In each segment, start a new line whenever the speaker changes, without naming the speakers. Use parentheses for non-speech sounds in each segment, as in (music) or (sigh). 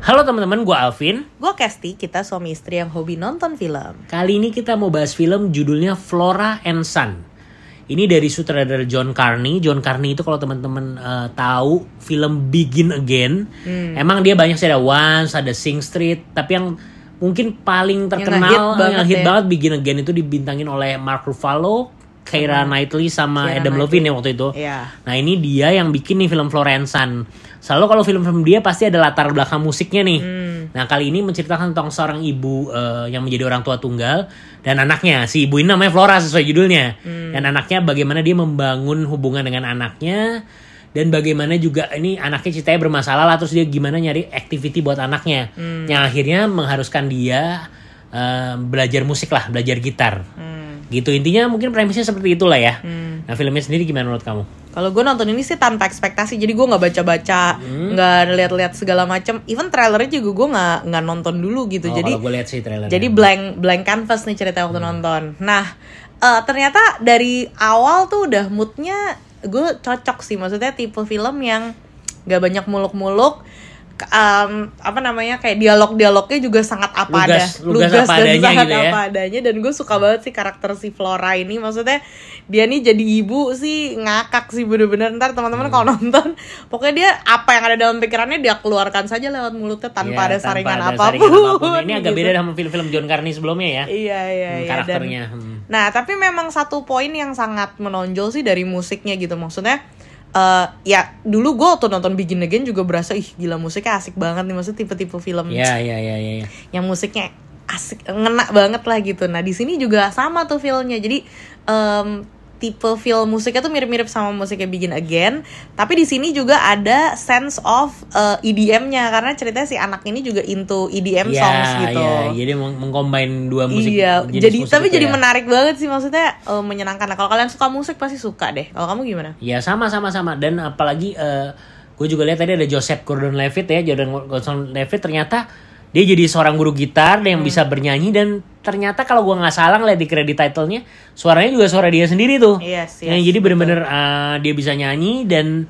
teman-teman, gue Alvin.
Gue Kesti, kita suami istri yang hobi nonton film.
Kali ini kita mau bahas film judulnya Flora and Sun. Ini dari sutradara John Carney. John Carney itu kalau teman-teman eh, tahu film Begin Again,
Hmm.
emang dia banyak sih ada Once, ada Sing Street, tapi yang mungkin paling terkenal
ngehit banget
yang hit
ya.
banget Begin Again itu dibintangin oleh Mark Ruffalo, Keira Knightley sama
Hmm. Keira
Adam
Knightley.
Levine ya waktu itu.
Iya.
Nah ini dia yang bikin nih film Florensan. Selalu kalau film-film dia pasti ada latar belakang musiknya nih.
Hmm,
Nah kali ini menceritakan tentang seorang ibu eh, yang menjadi orang tua tunggal dan anaknya. Si ibu ini namanya Flora sesuai judulnya.
Hmm.
Dan anaknya bagaimana dia membangun hubungan dengan anaknya dan bagaimana juga ini anaknya ceritanya bermasalah lah terus dia gimana nyari activity buat anaknya
Hmm.
yang akhirnya mengharuskan dia eh, belajar musik lah belajar gitar
hmm,
gitu intinya mungkin premisnya seperti itulah ya nah filmnya sendiri gimana menurut kamu
Kalau gue nonton ini sih tanpa ekspektasi, jadi gue nggak baca-baca,
Hmm.
nggak lihat-lihat segala macam. Even trailernya juga gue nggak nggak nonton dulu gitu.
Oh,
jadi
kalau gue lihat sih trailernya.
jadi blank blank canvas nih cerita
Hmm.
waktu nonton. Nah eh, ternyata dari awal tuh udah moodnya gue cocok sih, maksudnya tipe film yang nggak banyak muluk-muluk. ke- em, apa namanya kayak dialog-dialognya juga sangat apa ada
Lugas- lugas apa adanya
sangat
gitu ya.
apa adanya dan gue suka banget sih karakter si Flora ini maksudnya dia nih jadi ibu sih ngakak sih bener-bener ntar teman-teman
Hmm.
kalau nonton pokoknya dia apa yang ada dalam pikirannya dia keluarkan saja lewat mulutnya tanpa
Iya,
ada saringan
ada
apapun,
apapun. Ini agak
gitu.
beda sama film-film John Carney sebelumnya ya.
Iya iya
Hmm,
iya.
karakternya.
Dan-
Hmm.
Nah tapi memang satu poin yang sangat menonjol sih dari musiknya gitu maksudnya. eh, ya dulu gue waktu nonton Begin Again juga berasa ih gila musiknya asik banget nih maksudnya tipe-tipe film
Iya, iya, iya, iya. iya.
yang musiknya asik ngena banget lah gitu. Nah di sini juga sama tuh filmnya. Jadi em, tipe film musiknya tuh mirip-mirip sama musiknya Begin Again, tapi di sini juga ada sense of eh, EDM-nya karena ceritanya si anak ini juga into EDM
Iya,
songs gitu.
iya. Jadi meng- mengcombine dua Kan musik.
iya,
jenis
jadi
musik
tapi
itu
jadi
ya.
menarik banget sih maksudnya eh, menyenangkan. Nah, kalau kalian suka musik pasti suka deh. Kalau kamu gimana?
Ya sama sama sama dan apalagi gue juga lihat tadi ada Joseph Gordon-Levitt ya Jordan Gordon-Levitt ternyata dia jadi seorang guru gitar yang
Hmm.
bisa bernyanyi dan ternyata kalau gua nggak salah ngeliat di kredit title-nya suaranya juga suara dia sendiri tuh.
Yes,
Ya,
yes,
jadi bener-bener eh, dia bisa nyanyi dan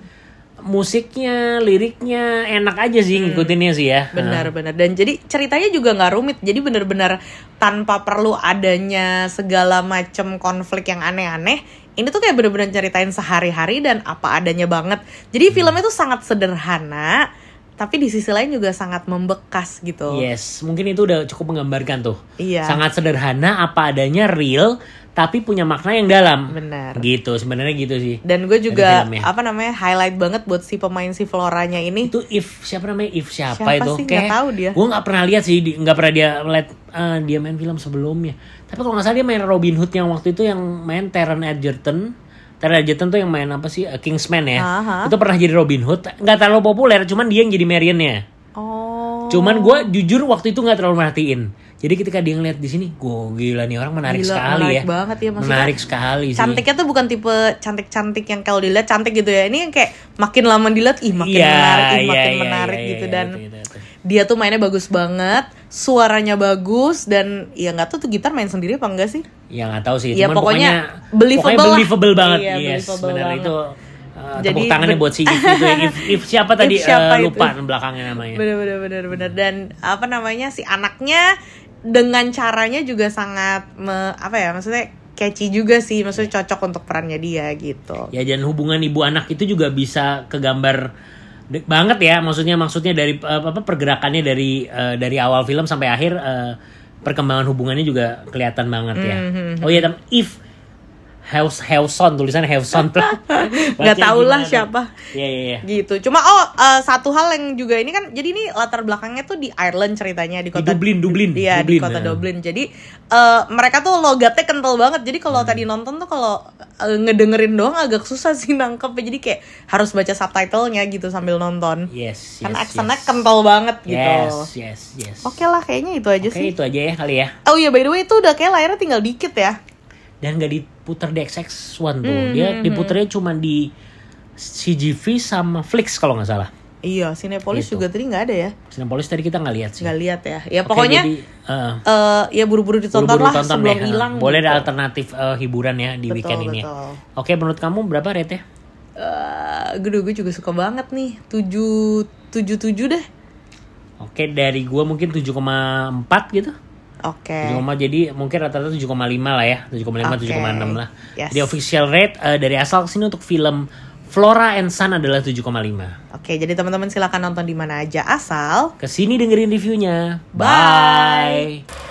musiknya liriknya enak aja sih
Hmm.
ngikutinnya sih ya.
Benar-benar. Dan jadi ceritanya juga nggak rumit. Jadi benar-benar tanpa perlu adanya segala macam konflik yang aneh-aneh. Ini tuh kayak benar-benar ceritain sehari-hari dan apa adanya banget.
Hmm.
Jadi filmnya tuh sangat sederhana, tapi di sisi lain juga sangat membekas gitu.
Yes, mungkin itu udah cukup menggambarkan tuh. Iya.
Iya.
Sangat sederhana apa adanya real tapi punya makna yang dalam.
Benar.
Gitu, sebenarnya gitu sih.
Dan gue juga
filmnya.
apa namanya highlight banget buat si pemain si Floranya ini.
itu if siapa namanya if siapa,
Siapa
itu
sih? Nggak tahu ya. dia.
gue nggak pernah lihat sih di- nggak pernah dia lihat eh, dia main film sebelumnya tapi kalau nggak salah dia main Robin Hood yang waktu itu yang main Taron Edgerton Taron Edgerton tuh yang main apa sih Eh, Kingsman ya
Aha.
itu pernah jadi Robin Hood nggak terlalu populer cuman dia yang jadi Marionnya
Oh.
cuman gue jujur waktu itu nggak terlalu merhatiin jadi ketika dia ngeliat di sini gue gila nih orang menarik
Gila,
sekali
menarik
ya
banget ya, maksudnya
menarik sekali sih
cantiknya tuh bukan tipe cantik-cantik yang kalau dilihat cantik gitu ya ini yang kayak makin lama dilihat ih makin
Iya,
menarik ih,
iya,
makin
iya,
menarik
iya,
gitu
iya,
dan
itu, itu, itu.
dia tuh mainnya bagus banget suaranya bagus dan ya nggak tahu tuh gitar main sendiri apa enggak sih
Ya nggak tahu sih,
Ya,
cuman
pokoknya
pokoknya
believable
pokoknya
lah.
believable banget.
Iya,
yes,
believable
benar
banget.
itu. uh,
Jadi,
tepuk tangannya
ben-
buat si If itu ya.
(laughs)
If, If siapa tadi
If siapa
uh, lupa
itu?
belakangnya namanya.
bener bener bener bener dan apa namanya si anaknya dengan caranya juga sangat me- apa ya maksudnya catchy juga sih
Iya.
maksudnya cocok untuk perannya dia gitu
Ya dan hubungan ibu anak itu juga bisa kegambar de- banget ya. Maksudnya maksudnya dari uh, apa pergerakannya dari uh, dari awal film sampai akhir uh, perkembangan hubungannya juga kelihatan banget ya.
Mm-hmm,
Oh iya, tam- If House Houseon tulisannya Houseon tuh.
(laughs) nggak
Bacanya
tau lah
gimana?
siapa
Iya iya iya.
gitu cuma oh eh, satu hal yang juga ini kan jadi ini latar belakangnya tuh di Ireland ceritanya di
Di
kota
Dublin, Dublin.
Iya di
Dublin,
kota
nah.
Dublin. Jadi eh, mereka tuh logatnya kental banget. Jadi
Hmm.
kalau tadi nonton tuh kalau eh, ngedengerin doang agak susah sih nangkepnya. Jadi kayak harus baca subtitlenya gitu sambil nonton.
Yes, yes.
Karena aksennya
yes.
kental banget gitu.
Yes, yes, yes.
Oke lah kayaknya itu aja
Oke
sih.
itu aja ya kali ya
Oh iya by the way itu udah kayak layarnya tinggal dikit ya.
Dan gak diputer di XX1 tuh
Hmm,
Dia diputernya cuma di CGV sama Flix kalau nggak salah
Iya, Cinepolis
Gitu.
juga tadi nggak ada ya.
Sinapolis tadi kita nggak lihat sih
Nggak lihat ya. Ya
Oke,
pokoknya
jadi, eh,
eh, ya buru-buru ditonton
buru-buru
lah
tonton
sebelum
deh. Eh,
hilang.
Boleh ada
gitu.
alternatif eh, hiburan ya di
Betul,
weekend ini ya.
betul.
Oke menurut kamu berapa rate ya?
Eh, gue gue juga suka banget nih. 7 77 deh.
Oke, dari gua mungkin 7,4 gitu.
Oke.
7, jadi mungkin rata-rata 7,5 lah ya. 7,5
Oke.
7,6 lah.
Yes.
Jadi official rate eh, dari asal ke sini untuk film Flora and Sun adalah 7,5.
Oke, jadi teman-teman silakan nonton di mana aja asal
Kesini dengerin reviewnya.
Bye.
Bye.